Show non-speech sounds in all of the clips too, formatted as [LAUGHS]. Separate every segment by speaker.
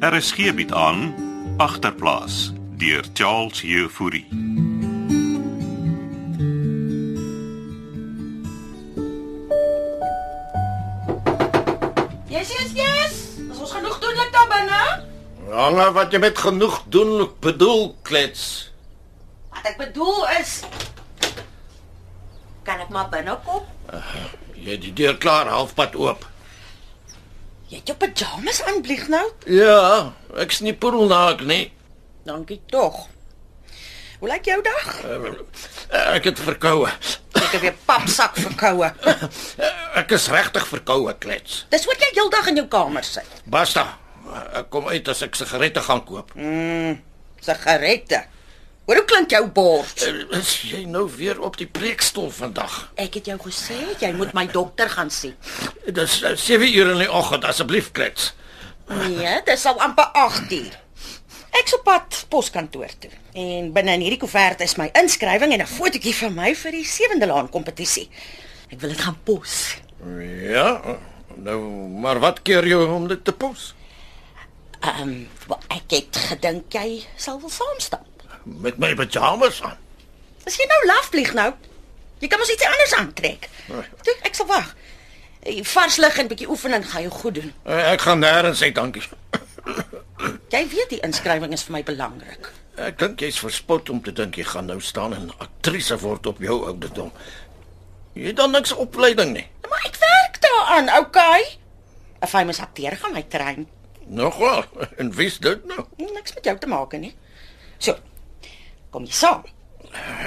Speaker 1: RSG bied Er aan agterplaas deur Charles Jefouri.
Speaker 2: Yes, yes, yes. Is ons genoeg doen dit daar binne?
Speaker 3: Hanna, wat jy met genoeg doen bedoel klets.
Speaker 2: Wat ek bedoel is kan ek maar binne kom?
Speaker 3: Jy het die deur klaar halfpad oop.
Speaker 2: Jy het jou pyjamas aan, blieg nou.
Speaker 3: Ja, ek's nie poedelnaak nie.
Speaker 2: Dankie tog. Hoe lyk jou dag?
Speaker 3: Eh, Ek het verkoue.
Speaker 2: Ek het weer papsak verkoue.
Speaker 3: Eh, Ek is regtig verkoue klets.
Speaker 2: [LAUGHS] Dis wat jy heeldag in jou kamer sit.
Speaker 3: Basta. Ek kom uit as ek sigarette gaan koop.
Speaker 2: Sigarette. Hoor hoe klink jou bors?
Speaker 3: Is jy nou weer op die preekstoel vandag?
Speaker 2: Ek het jou gesê jy moet my dokter gaan sien.
Speaker 3: Dis eh, 7 uur in die oggend asseblief klets.
Speaker 2: Nee, dis al amper 8 uur. Ek se pad poskantoor toe. En binne in hierdie koevert is my inskrywing en 'n fotootjie van my vir die sewende laan kompetisie. Ek wil dit gaan pos.
Speaker 3: Ja. Nou, maar wat keer jou om dit te pos?
Speaker 2: Ehm, um, ek het gedink jy sal wil saamstap.
Speaker 3: Met my pyjamas aan.
Speaker 2: As jy nou laf vlieg nou, jy kan mos iets anders aantrek.
Speaker 3: Nee.
Speaker 2: Toe, ek sal wag. Eh, Vars lig en bietjie oefening gaan jou goed doen.
Speaker 3: Eh, Ek gaan nêrens uit, dankie.
Speaker 2: Jy weet die inskrywing is vir my belangrik.
Speaker 3: Ek dink jy's verspot om te dink jy gaan nou staan en aktrise word op jou ouderdom. Jy het dan niks opleiding nie.
Speaker 2: Maar ek werk daaraan, okay? 'n Famous akteur gaan my train.
Speaker 3: Nogal. En wie's dit nou?
Speaker 2: Nee, niks met jou te maak nie. So. Kom jy saam?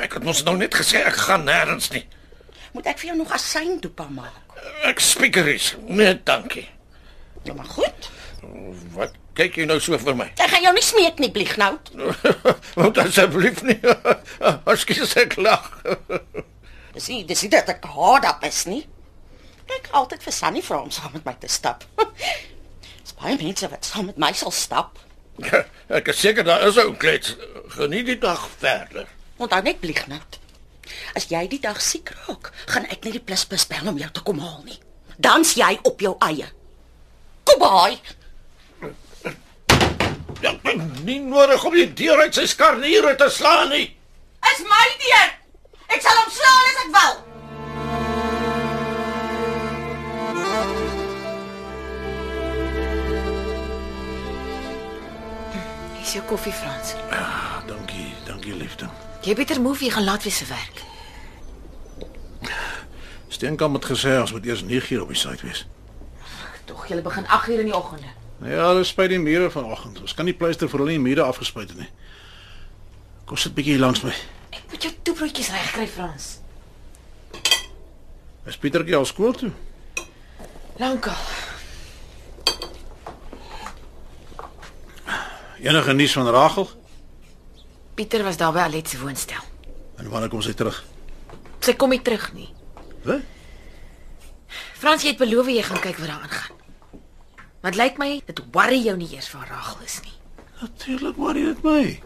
Speaker 3: Ek het mos nou net gesê ek gaan nêrens nie.
Speaker 2: Moet ek vir jou nog asyn toepa maak?
Speaker 3: Ek spiekeries. Nee, dankie.
Speaker 2: Nou maar goed.
Speaker 3: Wat kyk jy nou so vir my? [LAUGHS]
Speaker 2: Ek gaan jou nie smeek nie, Bliegnout.
Speaker 3: Moet asseblief nie. [LAUGHS] Ekskuus ek lag. [LAUGHS]
Speaker 2: Dis nie dis nie dat ek haat op is nie. Ek altyd vir Sunny vra om saam met my te stap. [LAUGHS] Dis baie mense wat saam met my sal stap.
Speaker 3: Ek is seker daar is ou klets. Geniet die dag verder.
Speaker 2: Onthou net Bliegnout. As jy die dag siek raak, gaan ek nie die plusbus bel om jou te kom haal nie. Dan's jy op jou eie. Kom by.
Speaker 3: Ja, nie nodig om die deur uit sy skarniere te slaan nie.
Speaker 2: Is my deur. Ek sal hom slaan as ek wil.
Speaker 4: Dis jou koffie, Frans.
Speaker 3: Ah, Dankie, dankie liefdom.
Speaker 4: Jy beter moef, jy gaan laat wees vir werk.
Speaker 5: Steenkamp het gesê ons moet eers 9 uur op die site wees.
Speaker 4: Tog, jy begin 8:00 in die oggende.
Speaker 5: Ja, hulle spuit die mure vanoggend. Ons kan nie pleister vir hulle die mure afgespuit het nie. Kom sit bietjie hier langs my.
Speaker 4: Ek moet jou toebroodjies regkry, Frans.
Speaker 5: Is Pietertjie al skool toe?
Speaker 4: Lankal.
Speaker 5: Enige nuus van Ragel?
Speaker 4: Pieter was daar by Alet se woonstel.
Speaker 5: En wanneer kom sy terug?
Speaker 4: Sy kom nie terug nie.
Speaker 5: Wat?
Speaker 4: Frans, jy het beloof jy gaan kyk wat daar aangaan. Maar dit lyk my dit worry jou nie eers waar Ragel is nie.
Speaker 5: Natuurlik worry dit my.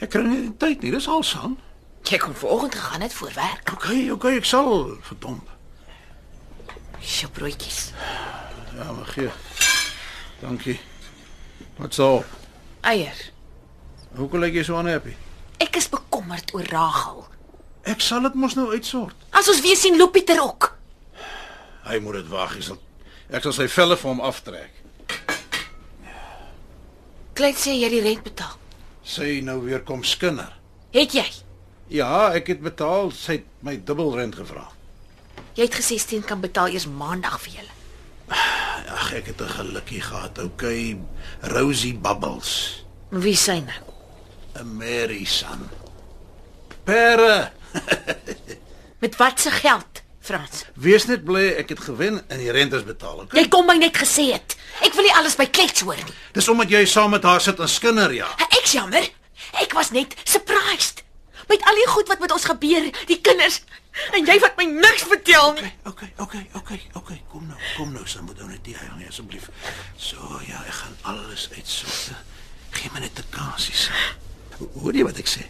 Speaker 5: Ek kry nie die tyd nie, dis al son.
Speaker 4: Jy kom vanoggend gegaan het voor werk.
Speaker 5: OK, OK, ek sal verdomp.
Speaker 4: Dis jou broodjies.
Speaker 5: Ja, maar gee. Dankie. Wat sou?
Speaker 4: Eier.
Speaker 5: Hoekom lyk jy so unhappy?
Speaker 4: Ek is bekommerd oor Ragel.
Speaker 5: Ek sal dit mos nou uitsort.
Speaker 4: As ons weer sien, loop Pieter ook.
Speaker 5: Hy moet dit waag, hy sal. Ek sal sy velle vir hom aftrek.
Speaker 4: Klein sê jy het die rent betaal.
Speaker 5: Sy nou weer kom skinder.
Speaker 4: Het jy?
Speaker 5: Ja, ek het betaal, sy het my dubbelrent gevra.
Speaker 4: Jy het gesê Steen kan betaal eers maandag vir julle.
Speaker 5: Ag, ek het 'n gelukkie gehad. Okay, Rosie Bubbles,
Speaker 4: Maar wie sê nou?
Speaker 5: 'n Mary San. Pere,
Speaker 4: Met wat se geld, Frans?
Speaker 5: wees net bly ek het gewen en die rent is betaal. Okay?
Speaker 4: Jy kom my net gesê het. Ek wil nie alles by klets hoor nie.
Speaker 5: Dis omdat jy saam met haar sit en skinder, ja.
Speaker 4: Ek jammer. Ek was net surprised met al die goed wat met ons gebeur, die kinders en jy wat my niks vertel nie.
Speaker 5: Okay, okay, okay, okay. Kom nou, kom nou, sy moet nou net die hang asseblief. So ja, ek gaan alles uitsoek. Geen minuut te kansies. Hoor jy wat ek sê?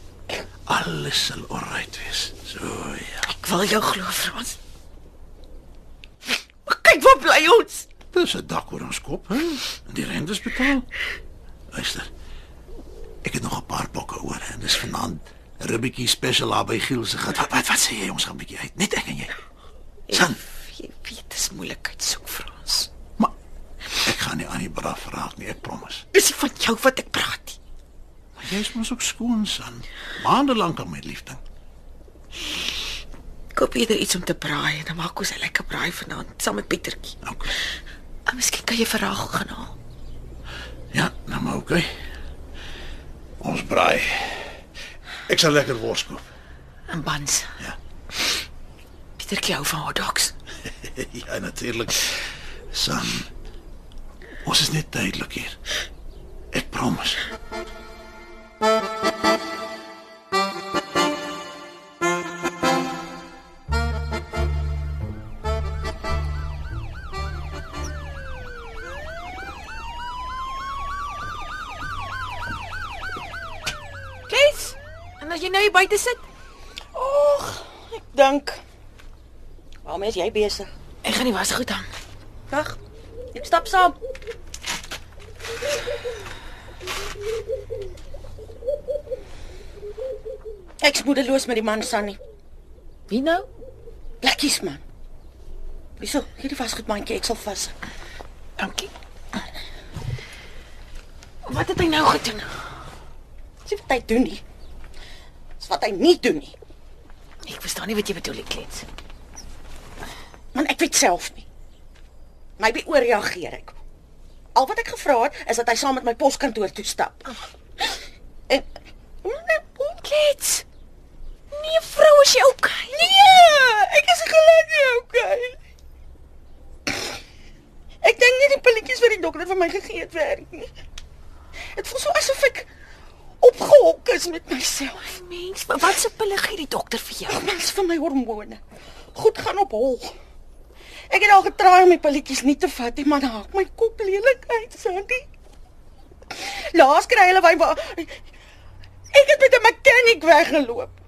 Speaker 5: Alles sal alright wees. So ja.
Speaker 4: Ek wil jou glo, Frans. Maar kyk waar bly ons.
Speaker 5: Toe is 'n dak oor ons kop, hè? En die rentes betaal. Luister. Ek het nog 'n paar bokke oor en dis vanaand ribbetjie special daar by Giel se gat. Wat wat, wat sê jy ons gaan 'n bietjie uit? Net ek en jy. San,
Speaker 4: Jy weet dis moeilikheid soek vir ons.
Speaker 5: maar ek gaan nie aan die braaf raak nie, ek promise.
Speaker 4: Dis nie van jou wat ek praat nie.
Speaker 5: Maar jy's mos ook skoon, San. Maande lank al my liefding.
Speaker 4: Koop eerder nou iets om te braai en dan maak ons 'n lekker braai vanaand saam met Pietertjie.
Speaker 5: Okay.
Speaker 4: En miskien kan jy vir Ragel gaan haal.
Speaker 5: Ja, nou maar oké. Ons braai. Ek sal lekker wors koop.
Speaker 4: En buns.
Speaker 5: Ja. [LAUGHS]
Speaker 4: Pietertjie hou van hotdogs.
Speaker 5: ja, natuurlik. Sam. Ons is net tydelik hier. Ek promise.
Speaker 4: Klets. En as jy nou hier buite sit,
Speaker 2: Och, ek dink. Waarmee is jy besig?
Speaker 4: ek gaan die wasgoed aan.
Speaker 2: Wag. Ek stap saam. Ek's moedeloos met die man Sannie.
Speaker 4: Wie nou?
Speaker 2: Plekkies man. Wieso? Hierdie wasgoedmandjie, ek sal vas.
Speaker 4: Dankie. Wat het hy nou gedoen?
Speaker 2: Dis nie wat hy doen nie. Dis wat hy nie doen nie.
Speaker 4: Ek verstaan nie wat jy bedoel, Klets.
Speaker 2: Man, ek weet self nie. Maybe oorreageer ek. Al wat ek gevra het is dat hy saam met my poskantoor toe stap. En nee,
Speaker 4: Klets. Nee, vrou, is jy okay?
Speaker 2: nee, ek is gelukkig okay. Ek dink nie die pilletjies wat die dokter vir my gegee het werk nie. Dit voel so asof ek opgehok is met myself.
Speaker 4: Mens, wa- wat se pille gee die dokter vir jou?
Speaker 2: Mens van my hormone. Goed gaan op hol. Ek het al getraai om die pilletjies nie te vat nie, maar dan haak my kop lelik uit, Sandy. Laas kry hulle wy waar Ek het met 'n mechanic weggeloop.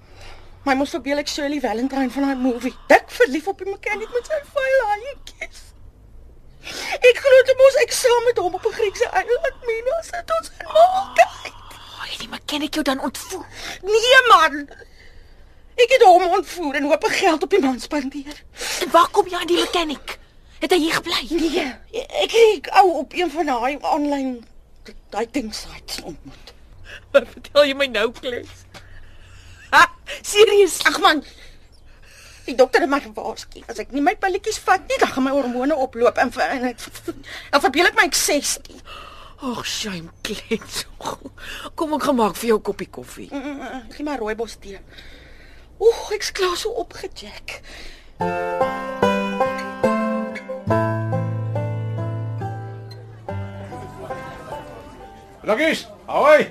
Speaker 2: My mos verbeel ek Shirley Valentine van daai movie. Dik verlief op die mechanic met sy vuil handjies. Ek glo dit mos ek saam met hom op 'n Griekse eiland Minos het ons in mekaar.
Speaker 4: Oh, het die mechanic jou dan ontvoer?
Speaker 2: Nee man. Ek het hom ontvoer en hoop ek geld op die man spandeer.
Speaker 4: En waar kom jy aan die mechanic? Het hy hier gebly?
Speaker 2: Nee, ek het ou op een van daai online dating sites ontmoet.
Speaker 4: Wat vertel jy my nou, Klets? Ha, [LAUGHS] serieus?
Speaker 2: Ag man. Die dokter het my gewaarsku. As ek nie my pilletjies vat nie, dan gaan my hormone oploop en ver- en ek dan verbeel ek my ek 16.
Speaker 4: Ag, shame, Klets. Kom ek gaan maak vir jou 'n koppie koffie.
Speaker 2: Gee maar rooibos tee. Oeg, ek's klaar so opgejack.
Speaker 6: Laggies, hoi.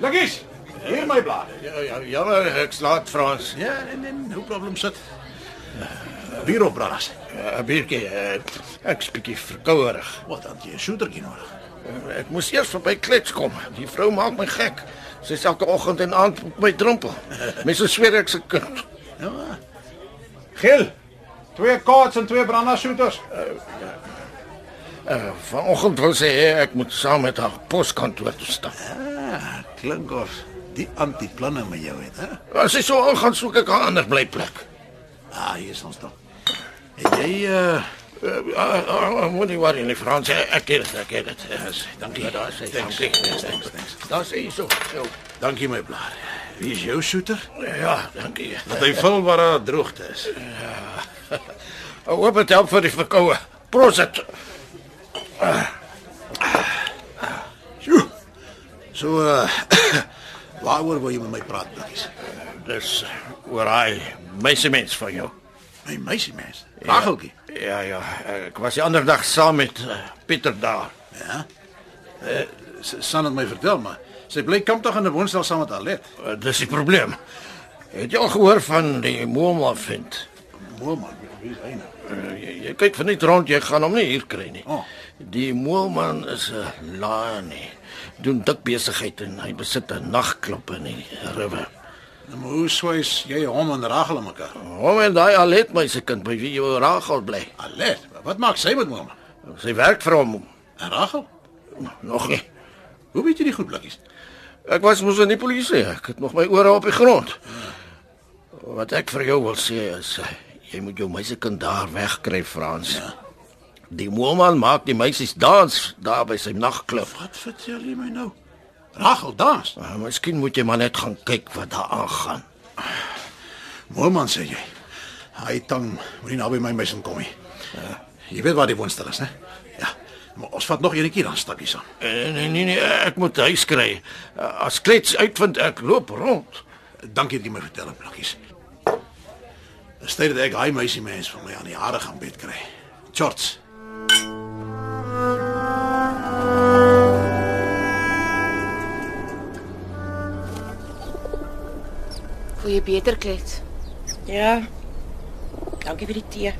Speaker 6: Laggies, hier my blaar.
Speaker 3: Ja, ja, jammer, ek slaat Frans. Eh,
Speaker 5: Ja, en en no problem sit. Bier op braas.
Speaker 3: 'n Biertjie. eh, Ek's bietjie verkouerig.
Speaker 5: Wat dan jy 'n shootertjie nodig?
Speaker 3: Eh, Ek moes eers verby klets kom. Oh, Die vrou maak my gek. Sy is elke oggend en aand op my drompel. Mense sweer ek's 'n kind.
Speaker 5: Ja,
Speaker 6: Gil. Twee kaats en twee brandashooters.
Speaker 3: Eh, Vanoggend wil sy hê ek moet saam met haar poskantoor toe stap.
Speaker 5: ah, klink of die antiplanne met jou het, hè?
Speaker 3: As sy so aangaan, soek ek 'n ander blyplek.
Speaker 5: Ah, hier is ons dan. Het jy uh
Speaker 3: Uh, uh, uh, moenie worry nie, Frans. Eh, Ek het dit, ek het dit. Eh, s- Dankie. Daar sê
Speaker 5: Thanks,
Speaker 3: dankie.
Speaker 5: thanks, thanks, thanks.
Speaker 3: Daar sê so. Jou.
Speaker 5: Dankie my blaar. Wie is jou shooter?
Speaker 3: Ja, dankie.
Speaker 5: Dat hy vul waar daar droogte is.
Speaker 3: [LAUGHS] Ek hoop dit help vir die verkoue. Prosit.
Speaker 5: Sjoe. So uh [COUGHS] waaroor wil jy met my praat, Blikkies?
Speaker 3: Dis oor hy meisiemens van jou.
Speaker 5: My meisie mens. Rageltjie.
Speaker 3: Ja ja, ek was die ander dag saam met eh, Pieter daar.
Speaker 5: Ja. Eh sy san het my vertel maar sy bly kampdag aan 'n woonstel saam met Alet.
Speaker 3: Eh, Dis die probleem. Het jy al gehoor van die Mooma vind?
Speaker 5: Moorman, wie is hy nou?
Speaker 3: Eh, Jy, jy kyk van net rond, jy gaan hom nie hier kry nie.
Speaker 5: Oh.
Speaker 3: Die Moelman is 'n laanie. Doen dik besigheid en hy besit 'n nagklub in die rivier.
Speaker 5: Nou maar hoe swys jy hom en Ragel aan mekaar?
Speaker 3: Hom en daai Alet my se kind by wie jou Ragel bly.
Speaker 5: Alet, wat maak sy met Moorman?
Speaker 3: Sy werk vir hom
Speaker 5: En Rachel,
Speaker 3: nog nie.
Speaker 5: hoe weet jy die goed blikkies?
Speaker 3: Ek was mos in die polisie. Ek het nog my ore op die grond. Wat ek vir jou wil sê is eh, jy moet jou meisiekind daar wegkry, Frans. Ja. Die moelman maak die meisies dans daar by sy nagklub.
Speaker 5: Wat vertel jy my nou? Rachel dans.
Speaker 3: Maar Ah, miskien moet jy maar net gaan kyk wat daar aangaan.
Speaker 5: Moorman sê jy. Hy tang moenie naby my meisie kom nie. Ja. Jy weet waar die woonstel is, né? Ja. Maar ons vat nog eenetjie dan stap jy saam.
Speaker 3: Eh, Nee nee nee, ek moet huis kry. Eh, As klets uitvind ek loop rond.
Speaker 5: Dankie dat jy my vertel het, blikkies. Dis tyd dat ek hy meisie mens van my aan die hare gaan bed kry. Shorts.
Speaker 4: Voel jy beter klets?
Speaker 2: Ja. Dankie vir die tee.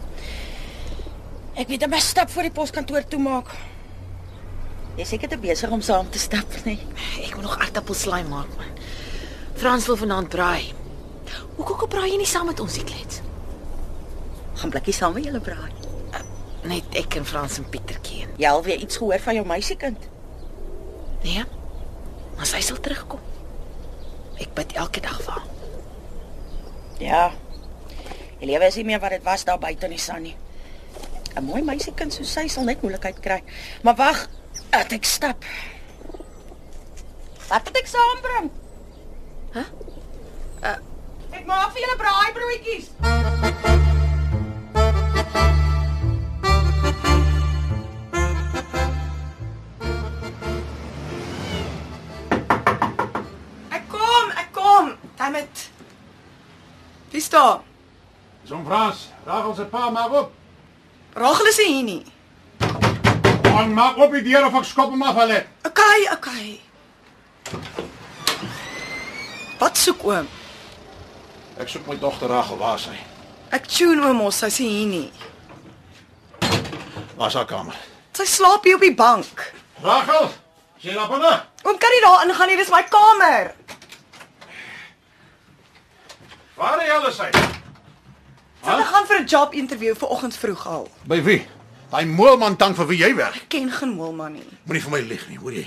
Speaker 2: Ek weet 'n bas stap voor die poskantoor toe maak. Jy seker te besig om saam te stap, nee. nê?
Speaker 4: Ek moet nog aardappelslaai maak man. Frans wil vanaand braai. Hoekom braai jy nie saam met ons die klets?
Speaker 2: Gaan blikkie saam met julle braai.
Speaker 4: Net ek en Frans en Pietertjie.
Speaker 2: Jy al weer iets gehoor van jou meisiekind?
Speaker 4: Nee. Maar sy sal terugkom. Ek bid elke dag vir haar.
Speaker 2: Ja. Die lewe is nie meer wat dit was daar buite in die son nie. 'n Mooi meisiekind soos sy sal net moeilikheid kry. Maar wag, dat ek stap. Wat het ek saambring?
Speaker 4: Hæ?
Speaker 2: Uh, ek maak vir julle braaibroodjies.
Speaker 7: Ek kom, ek kom. Damit. Wie staan?
Speaker 6: Dis om Frans. Rachel se pa maak op.
Speaker 7: Rachel is nie hier nie.
Speaker 6: Man maak op die deur of ek skop hom af hulle.
Speaker 7: Okay, okay. Wat soek oom?
Speaker 5: Ek soek my dogter Rachel, waar is sy?
Speaker 7: Ek tune oom ons, sy's nie hier nie.
Speaker 5: Waar is haar kamer?
Speaker 7: Sy slaap hier op die bank.
Speaker 6: Rachel, is jy daar binne?
Speaker 7: Oom kan nie daar ingaan nie, dis my kamer.
Speaker 6: Waar die hel is hy?
Speaker 7: Sy huh? gaan vir 'n job interview vanoggend vroeg al.
Speaker 5: By wie? Daai moorman tang vir wie jy werk.
Speaker 7: Ek ken geen Wilma nie.
Speaker 5: Moenie vir my lieg nie, hoor jy?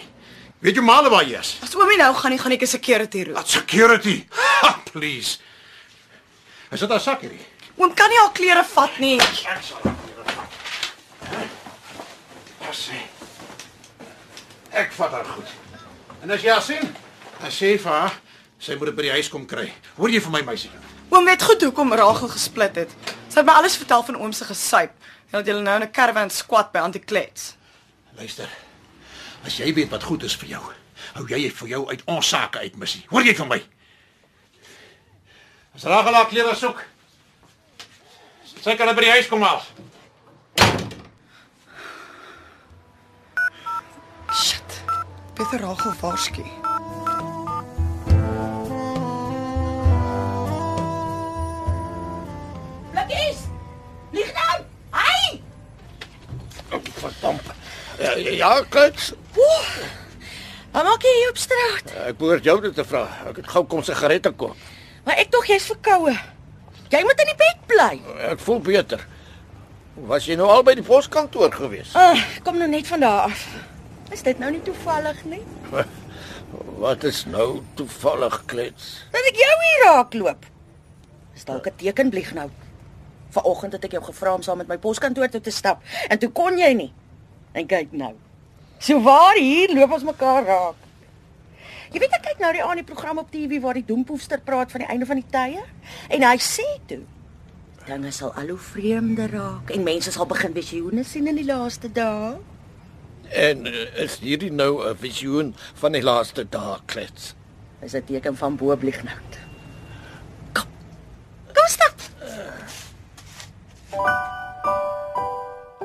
Speaker 5: Weet jy male waar jy is?
Speaker 7: As oom nie nou gaan nie, gaan ek 'n security roep.
Speaker 5: Wat security? Ha, please. Is dit 'n sak hierdie?
Speaker 7: Oom kan nie haar klere vat nie.
Speaker 5: Ek sal dit hier vat. Ja, sien. Ek vat haar goed. En as jy haar sien, dan sê vir haar sy moet dit by die huis kom kry. Hoor jy van my meisie?
Speaker 7: Oom weet goed hoekom Rachel gesplit het. Sy het my alles vertel van oom se gesyp. Hulle het julle nou in 'n karavaan squat by Antiklets.
Speaker 5: Luister. As jy weet wat goed is vir jou, hou jy dit vir jou uit ons sake uit, missie. Hoor jy van my?
Speaker 6: Is Rachel haar klere soek? Sy kan dit by die huis kom haal.
Speaker 7: Shit. Beter Rachel waarsku.
Speaker 2: Blikkies! Lieg nou! Hey!
Speaker 3: Verdamp. Ja, ja klets.
Speaker 2: Wat maak jy hier op straat?
Speaker 3: Ek behoort jou dit te vra. Ek het gou kom sigarette koop.
Speaker 2: Maar ek tog jy's verkoue. Jy moet in die bed bly.
Speaker 3: Ek voel beter. Was jy nou al by die poskantoor gewees?
Speaker 2: Ag, kom nou net van daar af. Is dit nou nie toevallig nie?
Speaker 3: Wat is nou toevallig klets?
Speaker 2: Dat ek jou hier raakloop. Is dalk 'n teken blieg nou. Vanoggend het ek jou gevra om saam met my poskantoor toe te stap en toe kon jy nie. En kyk nou. So waar hier loop ons mekaar raak. Jy weet ek kyk nou die aan die program op TV waar die doempoester praat van die einde van die tye en hy sê toe dinge sal al hoe vreemder raak en mense sal begin visioene sien in die laaste dae.
Speaker 3: En eh, is hierdie nou 'n visioen van die laaste dae klets?
Speaker 2: Dis 'n teken van booblignout. Kom. Kom stap.